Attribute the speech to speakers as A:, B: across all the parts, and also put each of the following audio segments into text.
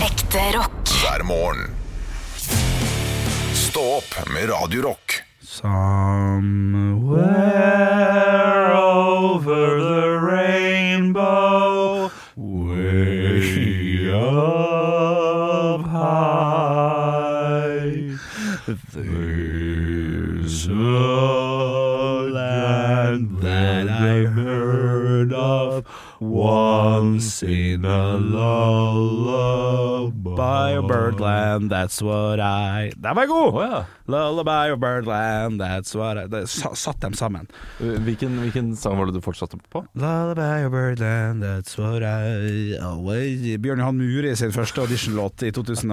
A: Ekte rock.
B: hver morgen. Stå opp med Radio Rock.
C: Somewhere over the rainbow, way up high, there's a land that I heard of once in a lullaby of birdland, that's what I Den var god!
D: Å ja.
C: Lullaby of Birdland, that's what I det, sa- Satt dem sammen.
D: Hvilken, hvilken sang var det du fortsatte på?
C: Lullaby of Birdland, that's what I always Bjørn Johan Muri sin første auditionlåt i 2007,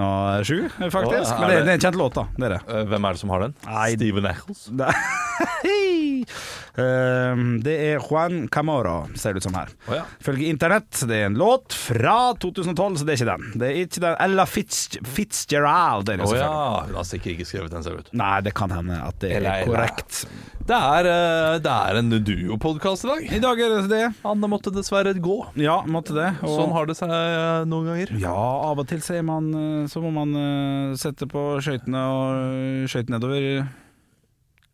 C: faktisk.
D: Å, er
C: Men det,
D: det-
C: det er en kjent låt, da. Det er det.
D: Eh, Hvem er det som har den?
C: Nei.
D: Steven Eccles.
C: Nei. Ehm, Det er Juan Camaro, ser det ut som her.
D: Å ja.
C: Ifølge internett. Det er en låt fra 2012, så det er ikke den. Det er ikke den Ella Fitz, Fitzgerald. Er det,
D: Å ja,
C: selvfølgelig.
D: hun har sikkert ikke skrevet den, ser det ut.
C: Nei, det kan hende at det
D: Ella,
C: er
D: Ella.
C: korrekt.
D: Det er, eh, det er en duopodkast i dag.
C: I dag er det det.
D: Anne måtte dessverre gå.
C: Ja, måtte det. og-
D: Sånn har det seg eh, noen ganger.
C: Ja, av og til så, er man, eh, så må man eh, sette på skøytene og eh, skøyte nedover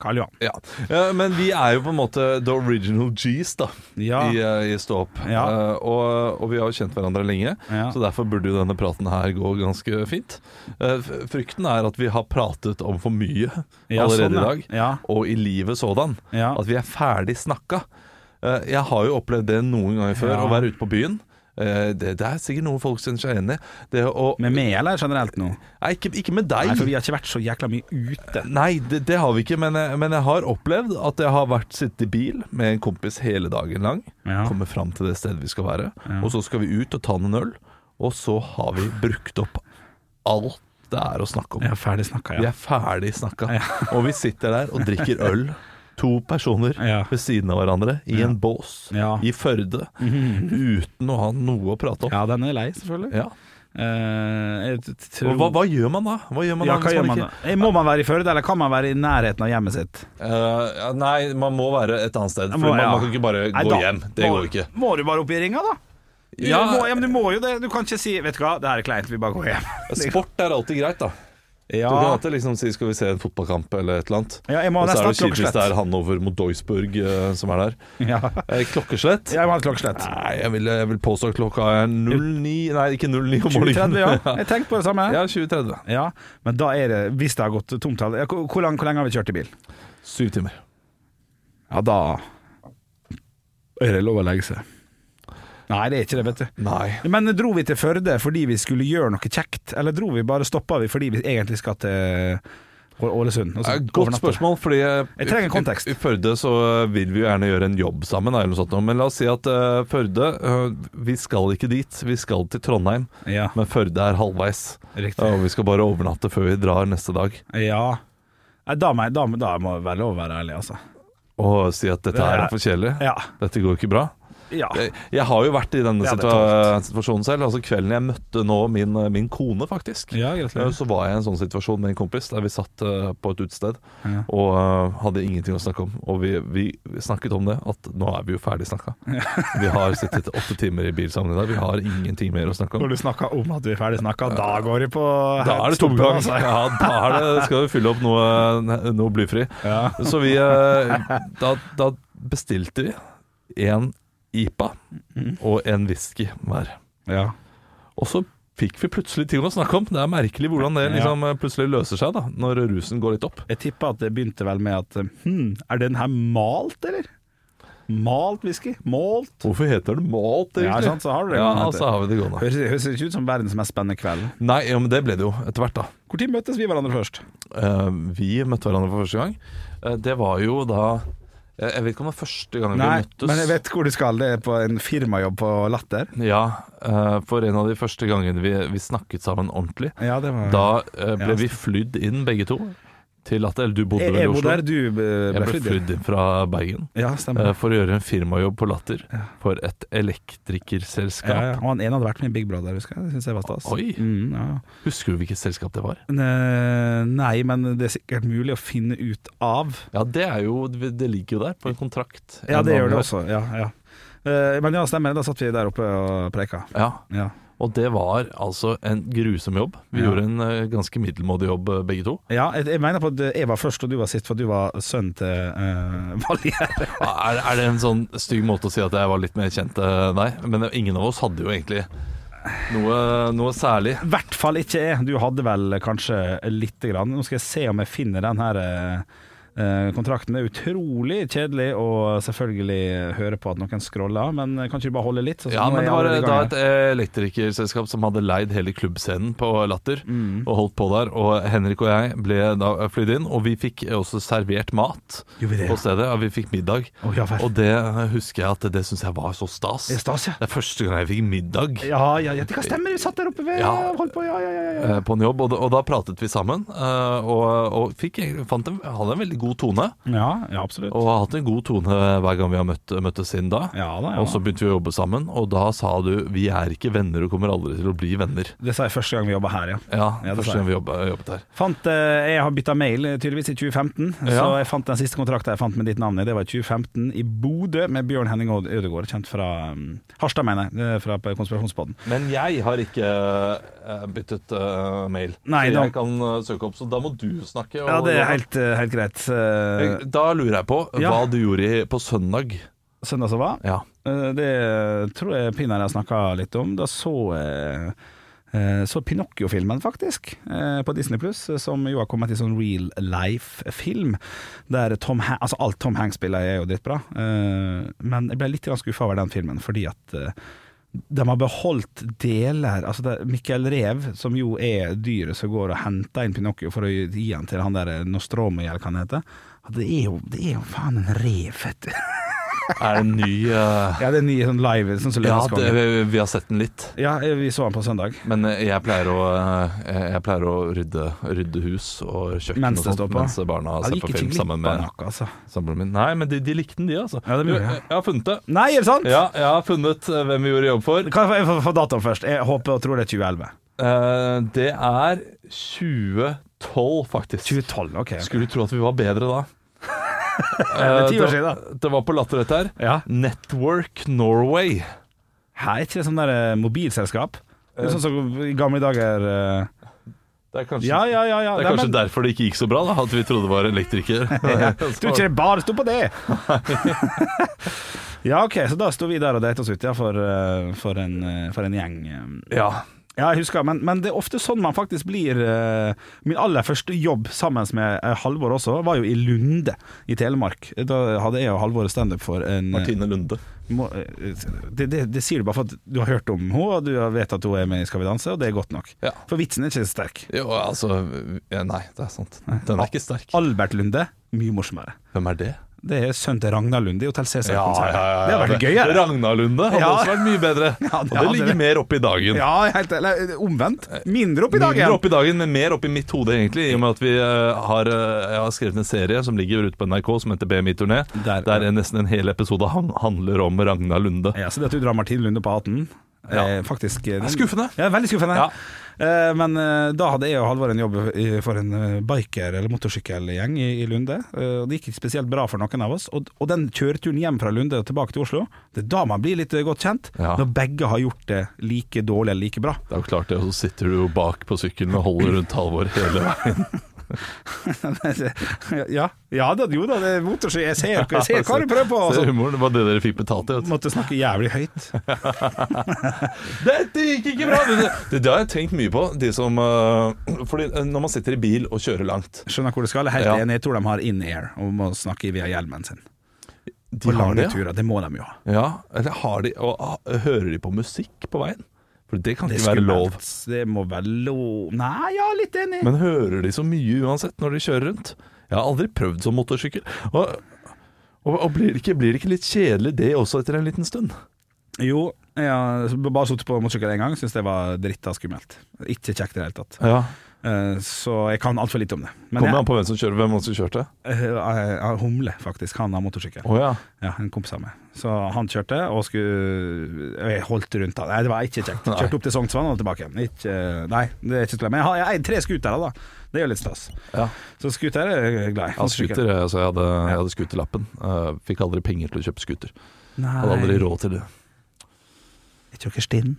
C: Karl Johan.
D: Ja. Eh, Men vi er jo på en måte the original G's da
C: Ja.
D: i, eh, i Stå opp.
C: Ja.
D: Eh, Og, og vi har jo kjent hverandre lenge,
C: Ja.
D: så derfor burde jo denne praten her gå ganske fint. Eh, f- Frykten er at vi har pratet om for mye
C: Ja,
D: allerede
C: sånn,
D: i
C: ja.
D: dag,
C: Ja.
D: og i livet sådan.
C: Ja.
D: At vi er ferdig snakka. Eh, Jeg har jo opplevd det noen ganger før,
C: Ja.
D: å være ute på byen. Eh, Det, det er sikkert noen folk kjenner seg igjen i. Det å
C: Med meg, eller generelt nå?
D: Nei, ikke, ikke med deg.
C: Nei, for vi har ikke vært så jækla mye ute.
D: Nei, det, det har vi ikke, men jeg, men jeg har opplevd at jeg har vært sittet i bil med en kompis hele dagen lang.
C: Ja.
D: Kommer fram til det stedet vi skal være, og så skal vi ut og ta noen øl. Og så har vi brukt opp alt det er å snakke om.
C: Ja, ferdig snakka,
D: Vi
C: ja.
D: er ferdig snakka. Og vi sitter der og drikker øl. To personer
C: Ja.
D: ved siden av hverandre i en bås
C: Ja.
D: i Førde uten å ha noe å prate om.
C: Ja, den er lei, selvfølgelig.
D: Ja.
C: Eh, jeg t- tror-
D: Og hva, hva gjør man da? Hva gjør man
C: ja,
D: da
C: hva
D: hvis
C: gjør
D: man
C: man da?
D: ikke-
C: Eh, Må man være i Førde, eller kan man være i nærheten av hjemmet sitt?
D: Eh, ja, nei, man må være et annet sted. For
C: Må-
D: man,
C: ja.
D: man kan ikke bare
C: Nei,
D: gå
C: da
D: hjem. Det
C: må,
D: går ikke.
C: Må du bare opp i ringa, da? Du,
D: Ja.
C: må, ja, men du må jo det. Du kan ikke si 'Vet du hva, det her er kleint, vi bare går hjem'.
D: Sport er alltid greit, da.
C: liksom. Ja.
D: Du kan alltid liksom si 'skal vi se en fotballkamp' eller et eller annet.
C: Ja, jeg må
D: og så er
C: nesten
D: det
C: ha
D: kjipt hvis det
C: klokkeslett.
D: er Hanover mot Duisburg eh, som er der.
C: Ja.
D: Eh, klokkeslett?
C: Jeg må ha et klokkeslett.
D: Nei, jeg vil, jeg vil påstå at klokka er 09 Nei, ikke 09 om
C: 2030,
D: morgenen.
C: ja. Jeg tenkte på det samme.
D: Ja,
C: Ja.
D: 2030.
C: Men da er det, hvis det har gått tomtall ja, hvor, hvor lang- hvor lenge har vi kjørt i bil?
D: Syv timer.
C: Ja, da er det lov å legge seg. Nei, det er ikke det, vet du.
D: Nei.
C: Men dro vi til Førde fordi vi skulle gjøre noe kjekt, eller dro vi bare stoppa vi fordi vi egentlig skal til Å- Ålesund? og så
D: Eh, Godt
C: overnatte?
D: spørsmål, fordi eh,
C: Jeg trenger en
D: i-
C: kontekst.
D: I, I Førde så eh, vil vi jo gjerne gjøre en jobb sammen, da, eller noe sånt. noe. Men la oss si at eh, Førde eh, Vi skal ikke dit, vi skal til Trondheim.
C: Ja,
D: Men Førde er halvveis,
C: riktig.
D: og vi skal bare overnatte før vi drar neste dag.
C: Ja. Nei, da, må jeg- da, må- da må jeg være lov å være ærlig, altså.
D: Og si at dette her
C: Ja.
D: er for kjedelig.
C: Ja.
D: Dette går ikke bra.
C: ja.
D: Jeg, jeg har jo vært i denne
C: Ja, det er
D: situa situasjonen selv. Altså Kvelden jeg møtte nå min, eh, min kone, faktisk,
C: Ja,
D: eh,
C: gratulerer.
D: så var jeg i en sånn situasjon med en kompis der vi satt eh, på et utested
C: Ja.
D: og eh, hadde ingenting å snakke om. Og vi, vi snakket om det, at nå er vi jo ferdig snakka. Vi har sittet åtte timer i bil sammen i dag, vi har ingenting mer å snakke
C: Når
D: om.
C: du snakker om at vi er ferdig snakka, da går det på
D: Da er det tomgang.
C: altså.
D: Ja, da er det, skal vi fylle opp noe, noe blyfri.
C: Ja.
D: Så vi eh, da, da bestilte vi en IPA
C: Mm.
D: og en whisky hver.
C: ja.
D: Og så fikk vi plutselig ting å snakke om. Det er merkelig hvordan det liksom eh, plutselig løser seg da når rusen går litt opp.
C: Jeg tipper at det begynte vel med at hm, Er den her malt, eller? Malt whisky? Malt?
D: Hvorfor heter det malt,
C: Ja,
D: egentlig?
C: sant, så har du det.
D: Ja,
C: Man heter-
D: så har vi det gående.
C: Høres, høres ikke ut som verdens mest spennende kveld.
D: Nei, ja, men det ble det jo etter hvert, da.
C: Når møttes vi hverandre først?
D: Eh, vi møtte hverandre for første gang. Eh, det var jo da eh, jeg, jeg vet ikke om det var første gangen
C: Nei,
D: vi møttes.
C: men jeg vet hvor du skal. Det er på en firmajobb på Latter.
D: Ja, eh, for en av de første gangene vi, vi snakket sammen ordentlig,
C: Ja, det var
D: Da eh,
C: Ja.
D: ble vi flydd inn begge to til at Eller du bodde
C: Jeg
D: vel i
C: jeg
D: Oslo?
C: bodde der, du eh,
D: jeg
C: ble
D: ble
C: flydd.
D: flydd inn fra Bergen
C: Ja,
D: eh,
C: stemmer.
D: for å gjøre en firmajobb på Latter
C: Mm. Ja.
D: for et
C: Ja,
D: elektrikerselskap.
C: ja. Og han ene hadde vært med i Big Brother, husker jeg. Det syns jeg var stas.
D: Oi.
C: Mm, ja.
D: Husker du hvilket selskap det var?
C: Men, eh, Nei, men det er sikkert mulig å finne ut av.
D: Ja, det er jo Det ligger jo der på en kontrakt.
C: Ja,
D: En
C: det gjør
D: gang.
C: det også. Ja, ja. Eh, Men ja, stemmer. Da satt vi der oppe og preika.
D: Ja.
C: Ja.
D: Og det var altså en grusom jobb. Vi
C: Ja.
D: gjorde en eh, ganske middelmådig jobb, eh, begge to.
C: Ja, jeg, jeg mener på at jeg var først og du var sist, for du var sønnen til uh, Valgerd.
D: Er, er det en sånn stygg måte å si at jeg var litt mer kjent eh, enn deg? Men ingen av oss hadde jo egentlig noe, noe særlig.
C: I hvert fall ikke jeg. Du hadde vel kanskje lite grann. Nå skal jeg se om jeg finner den her eh, eh, kontrakten. Det er utrolig kjedelig å selvfølgelig høre på at noen scroller, men kan ikke du bare holde litt? Sånn,
D: Ja,
C: nå er
D: men
C: jeg
D: det var
C: allerede i
D: da
C: gang
D: et eh,
C: her.
D: elektrikerselskap som hadde leid hele klubbscenen på Latter
C: Mm.
D: og holdt på der. Og Henrik og jeg ble da eh, flydd inn, og vi fikk også servert mat
C: Gjorde vi det, ja?
D: på stedet. Ja, vi fikk middag.
C: Å, ja vel.
D: og det eh, husker jeg at det syns jeg var så stas.
C: Det er stas, ja.
D: Det er første gang jeg fikk middag.
C: Ja, ja, ja, det kan stemme. Vi satt der oppe ved
D: Ja.
C: og holdt på. Ja, ja, ja. ja.
D: eh, På en jobb, og da, og da pratet vi sammen, eh, og, og fikk, egentlig- fant en, hadde en veldig god tone.
C: Ja, ja absolutt.
D: Og har hatt en god tone hver gang vi har møtt, møttes siden da.
C: Ja da, ja da.
D: Og så begynte vi å jobbe sammen, og da sa du 'vi er ikke venner og kommer aldri til å bli venner'.
C: Det sa jeg første gang vi jobba her, ja.
D: Ja,
C: Ja, det sa
D: første gang vi jobbet, jobbet her.
C: Fant, eh, jeg har bytta mail eh, tydeligvis i 2015, så
D: Ja.
C: jeg fant den siste kontrakten jeg fant med ditt navn i. Det var i 2015 i Bodø med Bjørn Henning Odd- Ødegaard, kjent fra um, Harstad, mener jeg, eh, fra Konspirasjonspodden.
D: Men jeg har ikke eh, byttet eh, mail,
C: Nei,
D: så
C: da-
D: jeg kan eh, søke opp. Så da må du snakke. og-
C: Ja, det er helt, eh, helt greit. Eh,
D: Jeg- Da lurer jeg på
C: Ja.
D: hva du gjorde i- på søndag.
C: Søndag som var,
D: Ja.
C: eh, det tror jeg pinadø jeg snakka litt om. Da så jeg eh, så Pinocchio-filmen, faktisk, eh, på Disney Pluss, som jo har kommet i sånn real life-film. Der Tom Han altså alt Tom Hanks spiller er jo drittbra, eh, men jeg ble litt skuffa over den filmen, fordi at eh, de har beholdt deler altså det, Mikkel Rev, som jo er dyret som går og henter inn Pinocchio for å gi gi han til han der eh, Nostromo, eller hva han heter. Det er jo, det er jo faen en rev, vet du.
D: Er det en ny eh,
C: Ja, det er ny sånn live sånn som
D: Ja, det,
C: Lørdagskonger.
D: vi- vi har sett den litt.
C: Ja, vi så den på søndag.
D: Men eh, jeg pleier å, eh, jeg pleier å rydde, rydde hus og kjøkken
C: Mens
D: og
C: det
D: sånt,
C: står på.
D: mens barna
C: Ja,
D: ser
C: det
D: på
C: gikk ikke
D: film sammen
C: glipp av
D: med
C: noe, altså.
D: samboeren min. Nei, men de, de likte den, de, altså.
C: Ja, det
D: Du,
C: gjorde
D: jeg,
C: jeg.
D: jeg har funnet det.
C: Nei, er det sant?
D: Ja, jeg har funnet eh, hvem vi gjorde jobb for.
C: Kan jeg få- få få datoen først? Jeg håper og tror det er 2011.
D: Eh, det er 2012, faktisk.
C: 2012, ok.
D: Skulle tro at vi var bedre da.
C: er ti år
D: Eh, det-
C: siden,
D: Det var på latter, dette her.
C: Ja.
D: Network Norway.
C: Her er ikke det sånn der eh, mobilselskap? Det er sånn som i gamle dager eh,
D: Det er kanskje,
C: Ja, ja, ja. ja.
D: Det er
C: Nei,
D: kanskje
C: men-
D: derfor det ikke gikk så bra, da, at vi trodde det var elektriker.
C: Du ikke det bare sto på det! ja, ok, så da sto vi der og dreit oss ut, ja, for, eh, for, en, eh, for en gjeng. eh.
D: ja.
C: Ja, jeg husker, men, men det er ofte sånn man faktisk blir eh, Min aller første jobb sammen med eh, Halvor også, var jo i Lunde i Telemark. Da hadde jeg og Halvor standup for en
D: Martine Lunde.
C: må, eh, det, det, det sier du bare for at du har hørt om henne, og du vet at hun er med i Skal vi danse, og det er godt nok.
D: Ja.
C: For vitsen er ikke så sterk.
D: Jo, altså eh, Nei, det er sant. Den er ikke sterk.
C: Albert Lunde, mye morsommere.
D: Hvem er det?
C: Det er sønnen til Ragnar Lunde i Hotell Cæsar. Det hadde vært
D: Det-
C: gøyere.
D: Ragnar Lunde hadde
C: Ja.
D: også vært mye bedre.
C: Ja,
D: og
C: det
D: det
C: hadde
D: ligger
C: det.
D: mer opp i dagen.
C: Ja, helt, eller omvendt. Mindre opp i dag
D: Mindre
C: igjen.
D: opp i dagen, men mer opp i mitt hode, egentlig. I og med at vi eh, har, eh, jeg har skrevet en serie som ligger ute på NRK som heter BMI-turné,
C: Der,
D: der,
C: ja.
D: en- nesten en hel episode han, handler om Ragnar Lunde.
C: Ja, så det at du drar Martin Lunde på hatten
D: Ja.
C: eh, Faktisk eh,
D: er skuffende.
C: Ja, veldig skuffende
D: Ja.
C: Eh, Men eh, da hadde jeg og Halvor en jobb i- for en eh, biker- eller motorsykkelgjeng i, i Lunde Eh, Og det gikk ikke spesielt bra for noen av oss Og, og den kjøreturen hjem fra Lunde og tilbake til Oslo Det er da man blir litt eh, godt kjent
D: Ja.
C: Når begge har gjort det like dårlig eller like bra
D: Det er jo klart det, og så sitter du jo bak på sykkelen og holder rundt Halvor hele veien.
C: ja. ja, da, jo da, det er motorsyk Jeg ser, jeg ser hva du prøver på
D: Se
C: altså.
D: humoren, det var det dere fikk betalt i. vet du.
C: Måtte snakke jævlig høyt
D: Dette gikk ikke bra! Det, det, det har jeg tenkt mye på, de som eh, Fordi eh, når man sitter i bil og kjører langt
C: Skjønner hvor det skal, jeg er helt
D: Ja.
C: enig Jeg tror de har in-air Og må snakke via hjelmen sin
D: de
C: På
D: har
C: lange
D: det, ja.
C: turer, det må de jo ha
D: Ja, eller har de Og ah, hører de på musikk på veien? For det kan
C: Det
D: ikke være lov.
C: Det må være lov Nei, ja, litt enig.
D: Men hører de så mye uansett når de kjører rundt? Jeg har aldri prøvd som motorsykkel. Og, og, og blir, det ikke, blir det ikke litt kjedelig det også etter en liten stund?
C: jo, jeg har bare sittet på motorsykkel én gang, syns det var dritta skummelt. Ikke kjekt i det hele tatt.
D: Ja.
C: Eh, Så jeg kan altfor lite om det. Men
D: Kommer
C: jeg,
D: an på hvem som kjører, hvem som kjørte.
C: eh, jeg har humle, faktisk. Han har motorsykkel.
D: Å ja.
C: Ja, en kompis av meg. Så han kjørte, og skulle og Jeg holdt rundt han. Nei, det var ikke kjekt.
D: Nei.
C: Kjørte opp til Sognsvann og tilbake igjen. Ikke, nei, det er ikke så glad. Men jeg har jeg eier tre scootere, da. Det er jo litt stas.
D: ja.
C: Så scooter er jeg glad i.
D: Jeg hadde scooter, jeg, så jeg hadde, jeg hadde scooterlappen. Eh, fikk aldri penger til å kjøpe scooter. Hadde aldri
C: Nei.
D: råd til det.
C: Er ikke dere stinn?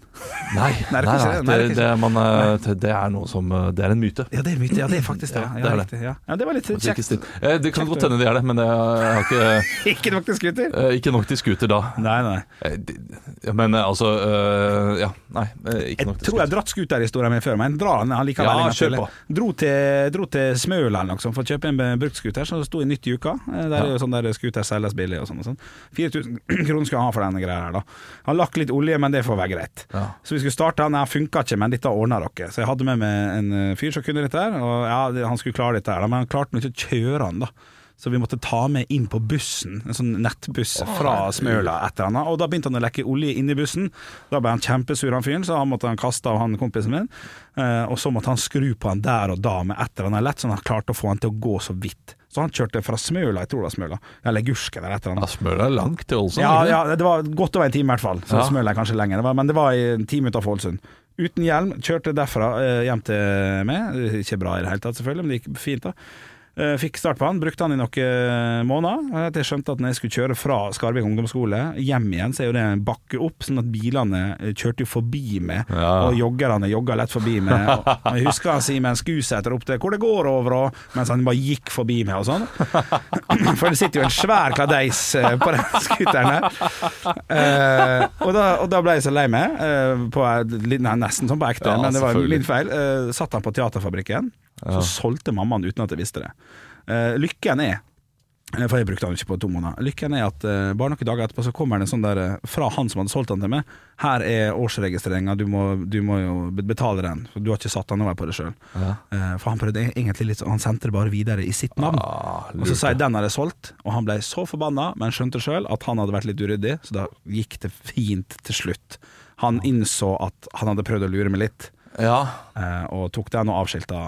D: Nei,
C: Nei,
D: nei,
C: det er ikke det.
D: nei,
C: Nei, det
D: det,
C: er ikke
D: det, er- man, eh, t- det er noe som eh, Det er en myte.
C: Ja, det er myte. Ja, det er faktisk det.
D: Ja,
C: Ja,
D: det er det.
C: riktig, ja. ja, det var litt
D: Altså, ikke
C: kjekt.
D: stille. Eh, Det kan
C: Kjekt,
D: godt hende de er det, men det er- jeg har ikke,
C: Ikke nok til skuter.
D: eh, ikke nok til scooter da.
C: Nei, nei.
D: Eh, de- Men eh, altså eh, Ja, nei. eh, Ikke
C: Jeg tror jeg
D: nok til
C: har
D: scooter.
C: dratt skuterhistorien min før, men dra den han likevel.
D: Ja,
C: en gang til.
D: kjør på.
C: Dro til, dro til Smøla eller noe sånt for å kjøpe en eh, brukt skuter, som sto i nytt i uka. Eh, Der er jo sånn der skuter selges billig og sånn. og sånn. 4000 kroner skulle han ha for denne greia her, da. Han lakk litt olje, men det får være greit.
D: Ja.
C: Så vi skulle starte han, jeg funka ikke, men dette ordna dere. Så jeg hadde med meg en eh, fyr som kunne dette her, og ja, det- han skulle klare dette her, da, men han klarte nå ikke å kjøre han, da. Så vi måtte ta med inn på bussen, en sånn nettbuss fra Smøla et eller annet. Og da begynte han å lekke olje inni bussen. Da ble han kjempesur, han fyren, så han måtte han kaste av han kompisen min. Eh, og så måtte han skru på han der og da med et eller annet lett, sånn at han klarte å få han til å gå så vidt. Så han kjørte fra Smøla, jeg tror det var Smøla, eller Gursk eller et eller annet.
D: Ja, Smøla er langt til Ålesund.
C: Ja,
D: ikke det?
C: ja, det var godt over en time i hvert fall. Så
D: sånn, Ja.
C: smøl jeg kanskje lenger. Det var, men det var en time utenfor Ålesund. Uten hjelm, kjørte derfra eh, hjem til meg. Ikke bra i det hele tatt, selvfølgelig, men det gikk fint, da. Eh, fikk start på han, brukte han i noen eh, måneder. Etter jeg skjønte at når jeg skulle kjøre fra Skarvik ungdomsskole hjem igjen, så er jo det en bakke opp, sånn at bilene eh, kjørte jo forbi meg.
D: Ja.
C: Og joggerne jogga lett forbi meg. Og og jeg husker han Simen Skusæter ropte 'hvor det går over', og, mens han bare gikk forbi meg og sånn. For det sitter jo en svær kladeis eh, på den skuteren her. Eh, og, da, og da ble jeg så lei meg, eh, på, litt- nei, nesten sånn på ekte,
D: Ja,
C: men det var
D: selvfølgelig.
C: min feil. Eh, satt han på Teaterfabrikken, så solgte mammaen uten at jeg visste det. Eh, lykken er eh, for jeg brukte han jo ikke på to måneder. Lykken er at eh, bare noen dager etterpå så kommer det en sånn der eh, fra han som hadde solgt han til meg. Her er årsregistreringa, du, må- du må jo be- betale den. For du har ikke satt han over på det sjøl. for han prøvde egentlig litt sånn, han sendte det bare videre i sitt navn.
D: Ah,
C: Og så sa jeg den har jeg solgt, og han ble så forbanna, men skjønte sjøl at han hadde vært litt uryddig, så da gikk det fint til slutt. Han innså at han hadde prøvd å lure meg litt,
D: ja.
C: eh, og tok den og avskilta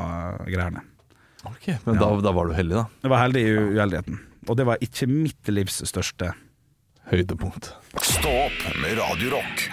C: eh, greiene.
D: Ok, men da, da var du heldig, da.
C: Det var heldig i u- uheldigheten, og det var ikke mitt livs største.
D: Høydepunkt.
B: Stå opp med Radio Rock.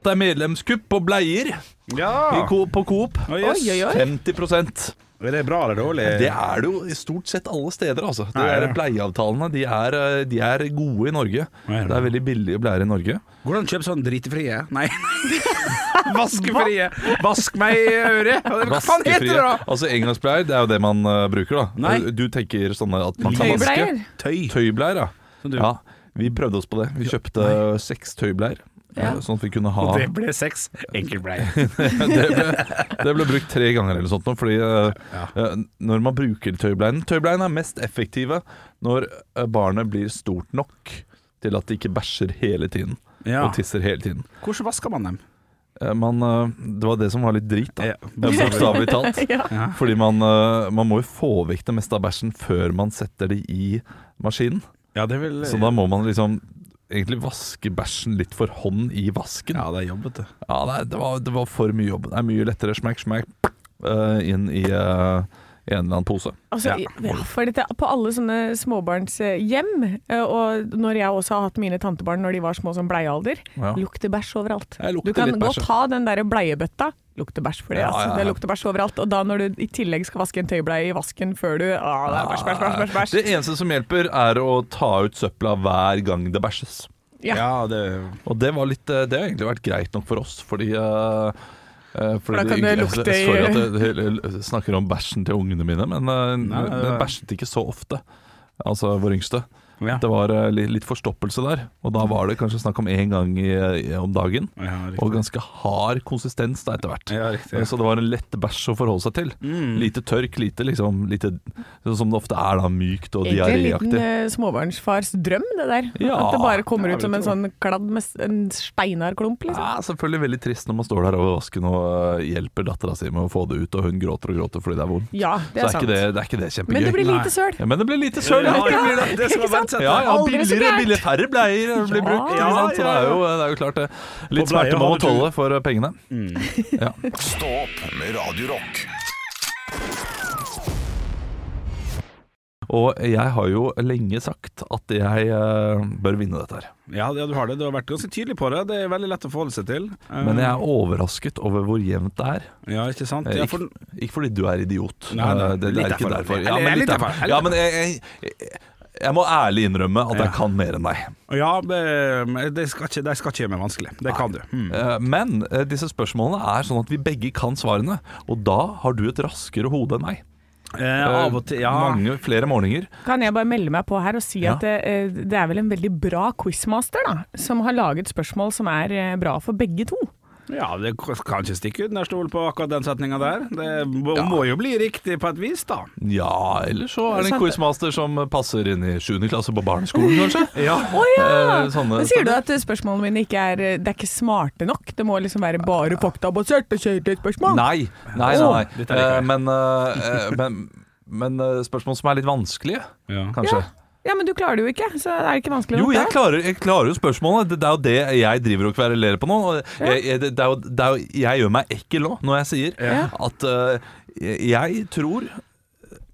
D: Det er medlemskupp på bleier i
C: Ja!
D: Coop- på Coop.
C: Å, yes. Oi, oi, oi.
D: 50
C: Er det bra eller dårlig?
D: Det er det jo i stort sett alle steder, altså. De
C: Ja, ja.
D: der bleieavtalene de er, eh, de er gode i Norge.
C: Ja, ja.
D: Det er veldig billige bleier i Norge.
C: Går det an å kjøpe sånn dritefrie? Nei. Vaskefrie. Vask meg i øret. Hva faen heter det da?
D: Altså Engangsbleier, det er jo det man eh, bruker, da.
C: Nei.
D: Du tenker sånne at man kan vaske.
A: Tøybleier.
C: Tøy.
D: Tøybleier,
C: Som du-
D: ja. ja. Vi prøvde oss på det. Vi kjøpte seks tøybleier.
A: Ja.
D: eh, Sånn at vi kunne ha
C: Og det ble sex. Enkeltbleier.
D: det, ble, det ble brukt tre ganger eller sånt nå, fordi eh, eh, når man bruker tøybleien Tøybleien er mest effektive når eh, barnet blir stort nok til at det ikke bæsjer hele tiden
C: Ja.
D: og tisser hele tiden.
C: Hvordan vasker man dem?
D: Eh, man, eh, det var det som var litt drit, da.
C: Ja.
D: Bokstavelig talt.
A: Ja.
D: Fordi man, eh, man må jo få vekk det meste av bæsjen før man setter det i maskinen.
C: Ja, det vil
D: Så da må man liksom egentlig vaske bæsjen litt for hånd i vasken.
C: Ja, det er jobbete.
D: Ja, nei, det var, det var for mye jobb. Det er mye lettere smekk, smekk eh, inn i eh, en eller annen pose.
A: Altså, ja. for dette, på alle sånne småbarnshjem, eh, og når jeg også har hatt mine tantebarn når de var små som bleiealder,
D: Ja.
A: lukter bæsj overalt.
D: Jeg lukter
A: Du kan
D: litt
A: gå
D: bæsj,
A: og ta den der bleiebøtta, lukter bæsj for det.
D: Ja,
A: altså.
D: ja, ja.
A: Det lukter bæsj overalt. Og da når du i tillegg skal vaske en tøybleie i vasken før du Å, det er bæsj, bæsj, bæsj, bæsj. bæsj.
D: Det eneste som hjelper, er å ta ut søpla hver gang det bæsjes.
A: Ja.
C: det
D: Og det, var litt, eh, det har egentlig vært greit nok for oss, fordi eh, eh, fordi
A: da kan det lukte i-
D: Sorry at jeg hele- snakker om bæsjen til ungene mine, men eh,
C: Nei, nei, nei.
D: den bæsjet ikke så ofte. Altså vår yngste.
C: ja. Mm.
D: Det var eh, li- litt forstoppelse der, og da var det kanskje snakk om én gang i, i, om dagen.
C: ja, riktig.
D: Og ganske hard konsistens da etter hvert.
C: Ja, Mm. riktig.
D: Så det var en lett bæsj å forholde seg til. Lite tørk, lite liksom lite, sånn Som det ofte er da, mykt og
A: Egentlig en liten
D: diaréaktig.
A: eh, småbarnsfars drøm, det der.
D: Ja.
A: At det bare kommer
C: Ja,
A: ut som
C: det
A: en sånn kladd med s- en steinar klump, liksom.
D: Ja, selvfølgelig veldig trist når man står der over vasken og øh, hjelper dattera si med å få det ut, og hun gråter og gråter fordi det er vondt.
A: Ja, det
D: så
A: er
D: er
A: sant.
D: ikke det, det er ikke det kjempegøy.
A: Men det blir
C: Nei.
A: lite søl.
D: ja, men det blir lite søl.
C: Ja,
D: Ja,
C: det blir det. Det som var verdsatt.
D: ja, ja,
A: Aldri så
D: billigere,
A: gærent.
D: billigere færre bleier blir
A: Ja.
D: brukt. Ikke sant? Så det er, jo, det er jo klart det.
C: På
D: Litt
C: bleier
D: smerte må
C: har
D: man
C: du- Mm.
D: tåle for eh, pengene.
B: Stå opp med Radio Rock.
D: Og jeg har jo lenge sagt at jeg øh, bør vinne dette her.
C: Ja, ja, du har det. Du har vært ganske tydelig på det. Det er veldig lett å forholde seg til. Eh,
D: Men jeg er overrasket over hvor jevnt det er.
C: Ja, ikke sant?
D: Eh,
C: Ja,
D: Ikke,
C: for...
D: ikke fordi du er idiot.
C: Nei, nei,
D: Eh, det, det
C: litt
D: er ikke
C: derfor.
D: derfor.
C: Eller-
D: men
C: litt
D: litt
C: derfor.
D: Ja, men jeg, jeg, jeg, Jeg må ærlig innrømme at jeg
C: Ja.
D: kan mer enn deg.
C: Ja, men de skal ikke, de skal ikke gjøre meg vanskelig. Det kan du. Mm.
D: Eh, Men eh, disse spørsmålene er sånn at vi begge kan svarene, og da har du et raskere hode enn meg.
C: Eh, av og til, ja.
D: Mange flere morgener.
A: Kan jeg bare melde meg på her og si
D: Ja.
A: at eh, det er vel en veldig bra quizmaster, da, som har laget spørsmål som er eh, bra for begge to.
C: ja, det kan ikke stikke under stol på akkurat den setninga der. Det må, må jo bli riktig på et vis, da.
D: Ja, eller så er det en
A: Sant.
D: quizmaster som passer inn i 7. klasse på barneskolen, kanskje.
C: Ja.
A: Å ja!
D: Eh, sånne-
A: Men sier du at eh, spørsmålene mine ikke er, eh, det er ikke smarte nok? Det må liksom være bare faktabaserte kjøretøyspørsmål?
D: Nei, nei,
C: Å,
D: nei.
C: dette liker
D: nei.
C: jeg.
D: Eh, Men, eh, eh, men, men eh, spørsmål som er litt vanskelige,
C: Ja.
D: kanskje.
A: Ja, men du klarer det jo ikke, så er det ikke vanskelig
D: Jo,
A: nok,
D: jeg
A: det.
D: klarer, jeg klarer jo spørsmålene. Det, det er jo det jeg driver og kverulerer på nå. og Jeg, jeg, det, det er jo, det er jo, jeg gjør meg ekkel òg når jeg sier
A: Ja.
D: at eh, jeg tror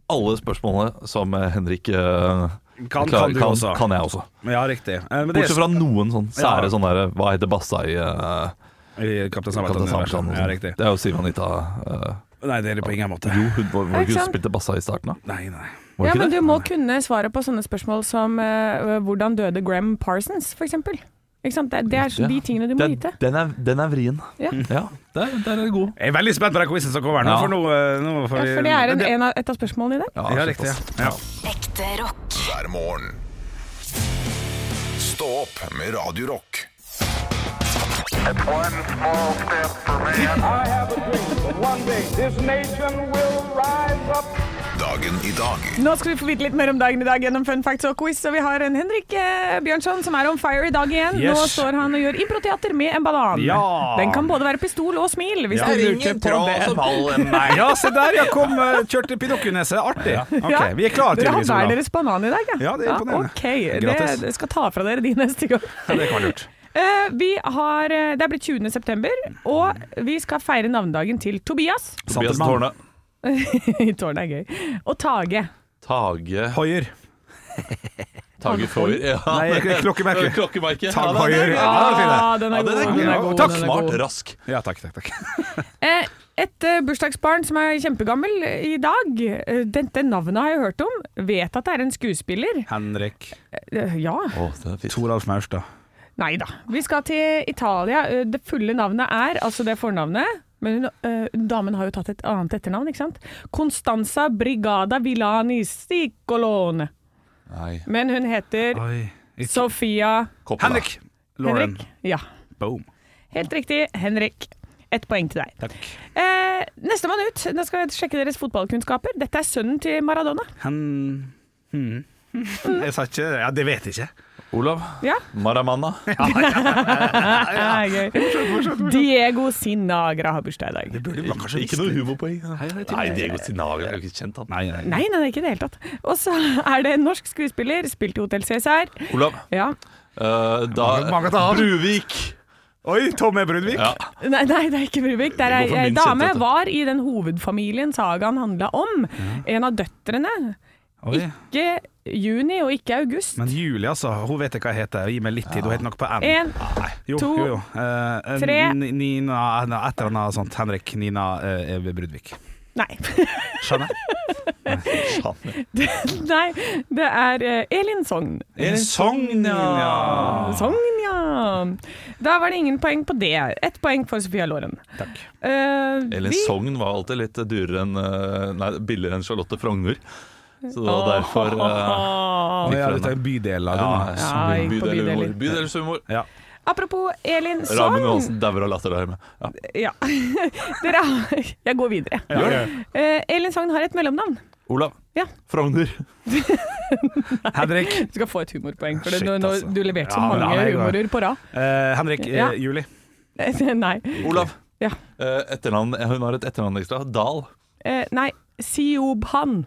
D: alle spørsmålene som eh, Henrik eh,
C: Kan,
D: klarer,
C: kan du også.
D: kan jeg også.
C: Ja, riktig. Eh, Men det
D: Bortsett
C: er
D: fra noen sånn sære
C: Ja.
D: sånn der Hva heter bassa i eh,
C: i Kaptein
D: Kaptein Sabeltann?
C: Sabeltann.
D: og
C: Ja,
D: sånn?
C: riktig.
D: det er jo Siv Anita eh,
C: Nei, det er det på ingen måte.
D: Jo, hun var, var
A: ikke
D: ikke hun
A: sant?
D: spilte bassa i starten, da?
C: Nei, nei.
D: Var
A: Ja,
D: ikke
A: men
D: det?
A: du må kunne svare på sånne spørsmål som eh, hvordan døde Graham Parsons, for eksempel. Ikke sant? Det, det er så-
D: Ja.
A: de tingene du må
D: Den,
A: vite.
D: den, er, den er vrien.
A: Ja.
D: Ja, der, der er det god.
C: Jeg er veldig spent på den quizen som kommer nå,
D: Ja.
C: for nå, eh, nå får
A: Ja,
C: vi
A: for det er en,
C: det-
A: en av, et av spørsmålene i dag.
C: Ja, riktig.
D: såpass.
C: Ja.
E: Ekte rock.
B: hver morgen. Stå opp med Radio Rock.
F: One small step for man.
G: I have a dream that one day this nation will rise up.
B: Dagen i dag
A: Nå skal vi få vite litt mer om dagen i dag gjennom fun facts og quiz. Og vi har en Henrik eh, Bjørnson som er on fire i dag igjen.
C: Yes.
A: Nå står han og gjør improteater med en banan.
C: Ja.
A: Den kan både være pistol og smil, hvis
C: Ja.
A: du lurte på det.
C: Nei, ja, se der, jeg kom eh, kjørte Pinocchio-nese. Artig.
A: Ja.
C: Ok, Vi er klare,
A: Dere har
C: tydeligvis.
A: hver
C: Olav.
A: deres banan i dag,
C: Ja, det er imponerende.
A: ok, det,
C: Grattis.
A: det skal ta fra dere de neste gang.
C: Ja, det kan være lurt.
A: Eh, vi har, eh, det er blitt 20. september, og vi skal feire navnedagen til Tobias.
D: Tobias
C: Santelmann.
D: Tårne.
A: Tårnet er gøy. Og Tage.
D: Tage
C: Hoier.
D: Tage Foyer. Ja.
C: Nei, jeg- jeg- klokkemerke.
D: Klokkemerke.
C: Tag
D: Ja, det er
C: Hoier.
D: det.
C: Ja, det er fint,
A: Ah, den
D: Ja,
A: er god. Den er
C: god,
A: god.
C: takk.
A: den er
D: Smart,
A: god.
D: rask.
C: det. Ja, takk, takk, takk.
A: Eh, Et eh, bursdagsbarn som er kjempegammel i dag. Eh, Dette navnet har jeg hørt om. Vet at det er en skuespiller.
C: Henrik.
A: Eh, Ja.
D: Å, det er fint.
C: Toralf Maurstad.
A: Nei da. Vi skal til Italia. Eh, Det fulle navnet er, altså det fornavnet men hun, eh, damen har jo tatt et annet etternavn, ikke sant? Constanza Brigada Villani Sticolone.
D: Nei.
A: Men hun heter
C: Oi.
A: Sofia
D: Coppola.
C: Henrik. Lauren.
A: Henrik. Ja,
C: Boom.
A: helt riktig. Henrik. Ett poeng til deg.
C: Takk.
A: Eh, Nestemann ut. Nå skal jeg sjekke deres fotballkunnskaper. Dette er sønnen til Maradona.
C: Hen... Hmm. Jeg sa ikke Ja, det vet jeg ikke.
D: Olav.
A: Ja.
D: Maramana.
A: Det er gøy. Diego Sinagra har bursdag i dag.
C: burde man kanskje
D: Ikke noe humorpoeng. Nei, Diego Sinagra er jo ikke kjent, han.
C: Nei, nei.
A: Nei, nei, nei, ikke i det hele tatt. Og så er det en norsk skuespiller, spilt i Hotell Cæsar.
D: Olav.
A: Ja.
D: eh, da
C: Mange tar han.
D: Bruvik.
C: Oi, Tommy Brudvik.
D: Ja.
A: Nei, nei, det er ikke Bruvik. Det er
D: Det går
A: ei
D: for
A: ei
D: min
A: dame.
D: kjente, dette.
A: Var i den hovedfamilien sagaen handla om. En av døtrene.
C: Oi.
A: Ikke juni og ikke august.
C: Men Julie, altså. Hun vet jeg hva jeg heter. Gi meg litt tid. Hun heter noe på N.
A: En
C: Jo,
A: to,
C: jo, jo. Eh, eh,
A: tre.
C: Ni- Nina eh, Et eller annet sånt. Henrik Nina eh, Brudvik.
A: Nei.
C: Skjønner.
A: nei det er eh, Elin Sogn. Eh,
C: En sogn, ja.
A: Sogn, ja. Da var det ingen poeng på det. Ett poeng for Sofia Loren.
C: Takk.
A: Eh,
D: Elin
A: vi-
D: Sogn var alltid litt dyrere enn eh, Nei, billigere enn Charlotte Frogner. Så det var derfor eh,
A: Åh.
C: Ja, du tar en bydel av
D: Ja,
C: den. da.
A: Ja, jeg gikk på
D: bydelhumor.
A: bydeler.
D: Bydelshumor.
C: Ja.
A: Apropos Elin
D: Ramen
A: Sogn
D: Johansen dauer av latter der hjemme. Ja.
A: ja. Dere har Jeg går videre.
C: Gjør det.
A: Eh, Elin Sogn har et mellomnavn.
D: Olav.
A: Ja.
D: Frogner.
C: Henrik.
A: Du skal få et humorpoeng, for
C: Shit,
A: du, nå-
C: altså.
A: du leverte så
C: Ja,
A: mange
C: bra, jeg går.
A: humorer på rad.
C: Eh, Henrik eh,
A: Ja.
C: Juli.
A: nei.
D: Olav.
A: Ja.
D: Eh, etternavn, hun har et etternavn ekstra. Dahl.
A: Eh, nei. Siobhan.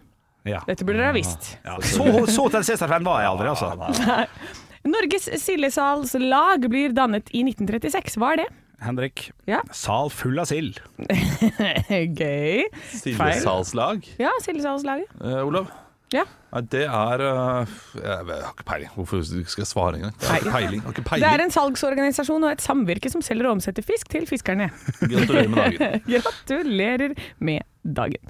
C: Ja.
A: Dette burde dere ha visst.
C: Ja. Så, så til Cæsar-fan var jeg aldri, altså.
A: Norges sildesalslag blir dannet i 1936. Hva er det?
C: Henrik.
A: Ja.
C: Sal full av sild.
A: Eh, Gøy. Feil.
D: Sildesalslag.
A: Ja, sildesalslaget.
D: Eh, Olav.
A: Ja.
D: Nei, det er eh, Jeg vet- jeg har ikke peiling. Hvorfor skal jeg svare engang? Jeg har ikke peiling. Jeg har ikke
A: Det er
D: peiling.
A: en salgsorganisasjon og et samvirke som selger og omsetter fisk til fiskerne.
D: Gratulerer med dagen.
A: Gratulerer med dagen.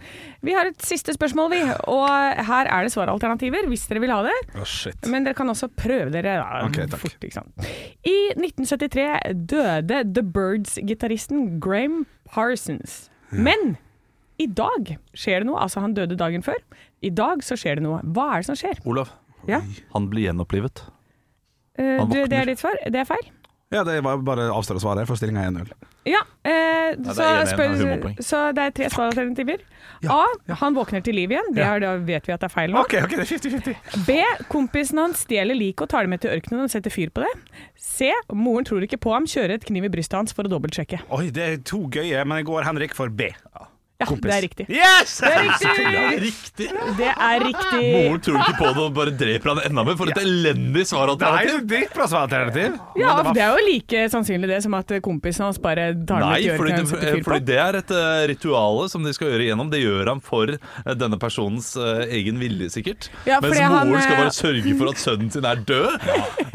A: Vi har et siste spørsmål, vi. Og her er det svaralternativer, hvis dere vil ha det.
C: Å, shit.
A: Men dere kan også prøve dere da,
C: Ok, takk.
A: fort. Ikke sant? I 1973 døde The Birds-gitaristen Graham Parsons.
D: Hmm.
A: Men i dag skjer det noe. Altså, han døde dagen før. I dag så skjer det noe. Hva er det som skjer?
D: Olav,
A: Ja.
D: han blir gjenopplivet.
A: Eh,
D: Han
A: du, det
D: våkner.
A: er ditt svar? Det er feil?
C: Ja, det var bare å avstå å svare, for stillinga er 1-0.
A: Ja. Eh,
D: det er
A: så,
D: en- en
A: spør,
D: humorpoeng.
A: så det er tre svaralternativer. A. Han våkner til liv igjen. Det, er, da vet vi at det er feil nå.
C: OK, ok, det er 50-50.
A: B. Kompisen hans stjeler liket og tar det med til ørkenen og setter fyr på det. C. Moren tror ikke på ham, kjører et kniv i brystet hans for å dobbeltsjekke.
C: Oi, det er to gøye, men jeg går Henrik for B.
A: Ja, det er riktig.
C: Yes!
A: Det er riktig!
D: Riktig!
A: Det er riktig.
D: Moren tror ikke på det og bare dreper han enda mer. For et elendig
C: Det er jo
D: svaralternativ!
C: et dritbra svaralternativ.
A: Ja,
C: Men
A: det er jo like sannsynlig det som at kompisen hans bare tar det
D: Nei,
A: med til
D: fordi
A: ørkenen og
D: det,
A: setter
D: fordi
A: fyr på.
D: det er et eh, rituale som de skal gjøre igjennom. Det gjør han for eh, denne personens eh, egen vilje, sikkert.
A: Ja,
D: Mens
A: fordi han,
D: moren skal
A: eh,
D: bare sørge for at sønnen sin er død.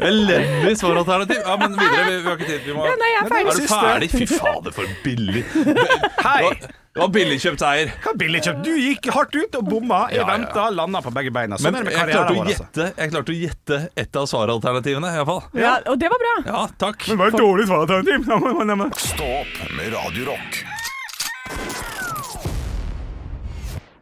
D: Elendig svaralternativ! Ja, men videre. Vi, vi har ikke tid. Vi må
A: Ja, nei, jeg er
D: Er
A: ferdig.
D: du ferdig? Fy fader, for billig. Det
C: Hei!
D: var- det var billigkjøpt seier.
C: Hva billig kjøpt? Du gikk hardt ut og bomma. Jeg
D: Ja, ja.
C: venta, landa på begge beina. Sånn
D: Men
C: er det med
D: jeg klarte
C: karrieren
D: å
C: vår, altså.
D: gjette, jeg klarte å gjette ett av svaralternativene, iallfall.
A: Ja, og det var bra.
D: Ja, takk.
C: Det var et dårlig svaralternativ.
B: Stå opp med Radio Rock.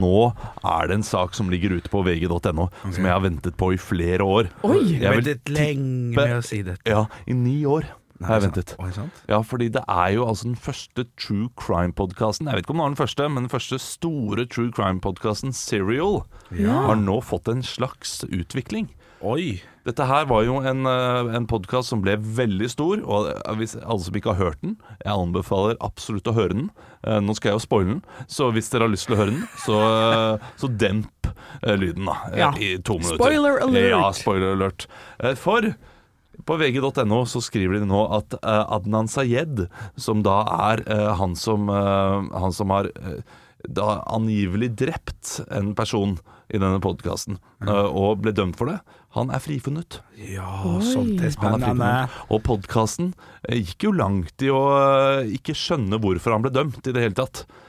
D: Nå er det en sak som ligger ute på vg.no, som jeg har ventet på i flere år.
A: Oi.
D: Jeg vil,
C: lenge
D: med
C: å si det.
D: ja, i ni år har jeg ventet.
C: Oi, sant?
D: Ja, fordi det er jo altså den første true crime-podkasten Jeg vet ikke om det var den første, men den første store true crime-podkasten, Serial, har nå fått en slags utvikling.
C: Oi.
D: Dette her var jo en, eh, en podkast som ble veldig stor, og eh, hvis alle som ikke har hørt den Jeg anbefaler absolutt å høre den. Eh, Nå skal jeg jo spoile den, så hvis dere har lyst til å høre den, så, eh, så demp eh, lyden, da. eh,
A: Ja.
D: I to minutter.
A: Spoiler alert.
D: Ja, spoiler alert. Eh, For på vg.no så skriver de nå at eh, Adnan Sayed, som da er eh, han, som, eh, han som har eh, da angivelig drept en person i denne podkasten, og ble dømt for det, han er frifunnet.
C: Mhm. Ja, sånt er
D: Han er
C: spennende.
D: frifunnet. Og podkasten gikk jo langt i å eh, ikke skjønne hvorfor han ble dømt i det hele tatt. Eh,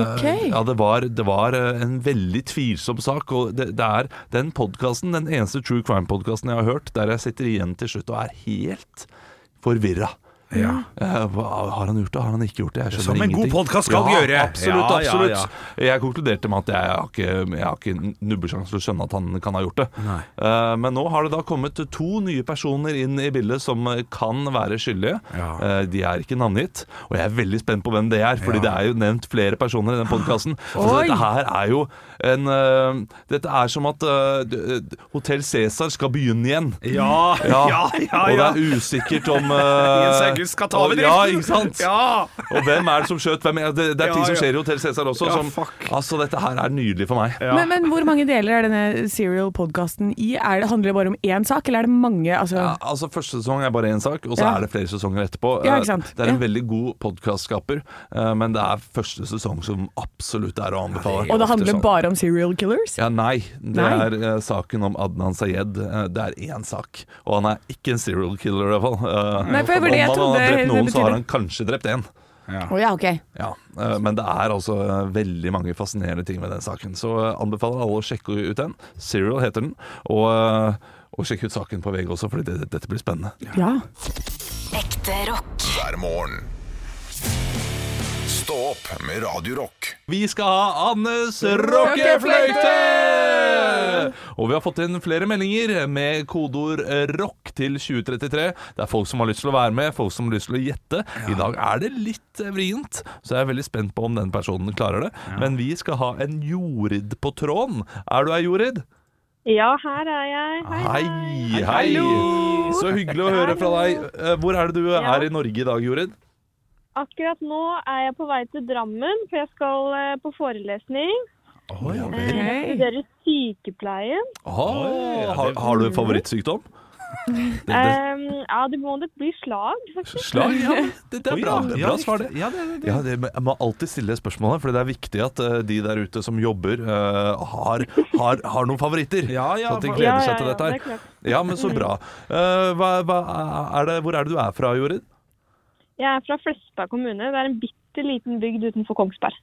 A: Ok.
D: Ja, det var, det var eh, en veldig tvilsom sak. Og det, det er den podkasten, den eneste true crime-podkasten jeg har hørt, der jeg sitter igjen til slutt og er helt forvirra.
C: Ja.
D: Eh, hva, har han gjort det, har han ikke gjort det? Jeg skjønner
C: Som en god
D: ingenting.
C: podcast skal gjøre.
D: Absolutt,
C: Ja, ja,
D: absolutt.
C: ja.
D: Jeg konkluderte med at jeg har ikke, jeg har ikke nubbesjanse til å skjønne at han kan ha gjort det.
C: Nei.
D: Eh, men nå har det da kommet to nye personer inn i bildet som eh, kan være skyldige.
C: Ja.
D: Eh, de er ikke navngitt, og jeg er veldig spent på hvem det er, fordi det er jo nevnt flere personer i den podkasten. Altså,
A: Oi.
D: dette her er jo en eh, Dette er som at uh, Hotell Cæsar skal begynne igjen.
C: Ja, ja, ja. ja,
D: Og det er usikkert om eh,
C: Jens August skal ta over
D: og- Ja,
C: driften.
D: ikke sant?
C: liksom. Ja.
D: Og hvem er det som skjøt hvem? Ja, Det, det er ting
C: Ja,
D: som
C: ja.
D: skjer i Hotell Cæsar også.
C: Ja,
D: som,
C: fuck.
D: altså, dette her er nydelig for meg.
A: Men, men hvor mange deler er denne serial-podkasten i? Er det, handler det bare om én sak, eller er det mange? Altså,
D: Ja, altså Første sesong er bare én sak, og så
A: Ja.
D: er det flere sesonger etterpå. Eh,
A: Ja, ikke sant?
D: Det er en
A: Ja.
D: veldig god podkastskaper, eh, men det er første sesong som absolutt er å anbefale.
A: og det handler
D: Ofte sånn.
A: bare om serial killers?
D: ja, Nei. Det
A: Nei.
D: er eh, saken om Adnan Sayed. Eh, det er én sak. Og han er ikke en serial killer, i hvert fall. Eh,
A: Nei, for jeg-
D: om
A: jeg
D: han
A: trodde
D: har
A: det
D: drept noen, så
A: betydde-
D: har han kanskje drept én.
A: Å ja, ok.
D: Ja, eh, men det er altså eh, veldig mange fascinerende ting med den saken. Så eh, anbefaler alle å sjekke ut den. Serial heter den. Og, eh, og sjekk ut saken på VG også, for det, dette blir spennende.
A: Ja.
E: Ekte rock.
B: hver morgen. Stå opp med Radio Rock.
D: Vi skal ha Annes rockefløyte! Og vi har fått inn flere meldinger med kodeord eh, 'rock' til 2033. Det er folk som har lyst til å være med, folk som har lyst til å gjette. I dag er det litt eh, vrient, så jeg er veldig spent på om den personen klarer det. Men vi skal ha en Jorid på tråden. Er du ei Jorid?
H: Ja, her er jeg. Hei.
D: Hei, hei. Så hyggelig å høre fra deg. Eh, Hvor er det du
H: Ja.
D: er i Norge i dag, Jorid?
H: Akkurat nå er jeg på vei til Drammen, for jeg skal eh, på forelesning. Eh, Jeg
A: Ok.
H: studerer sykepleie.
D: Åh, har, har du favorittsykdom? Det, det,
H: Eh, ja, det må nok bli slag, faktisk.
D: slag? Ja, det, det er bra, det er bra svar, det.
C: Ja, det, det,
D: Ja, det, Jeg må alltid stille det spørsmålet, for det er viktig at eh, de der ute som jobber, eh, har, har, har noen favoritter.
C: Ja, ja,
D: sånn at de
C: for-
D: gleder
H: Ja,
D: seg
H: ja,
D: til
H: ja,
D: dette
H: det er
D: her.
H: klart.
D: Ja, men så bra. Eh, hva, hva er det, hvor er det du er fra, Jorid?
H: Jeg er fra Flesberg kommune. Det er en bitte liten bygd utenfor Kongsberg.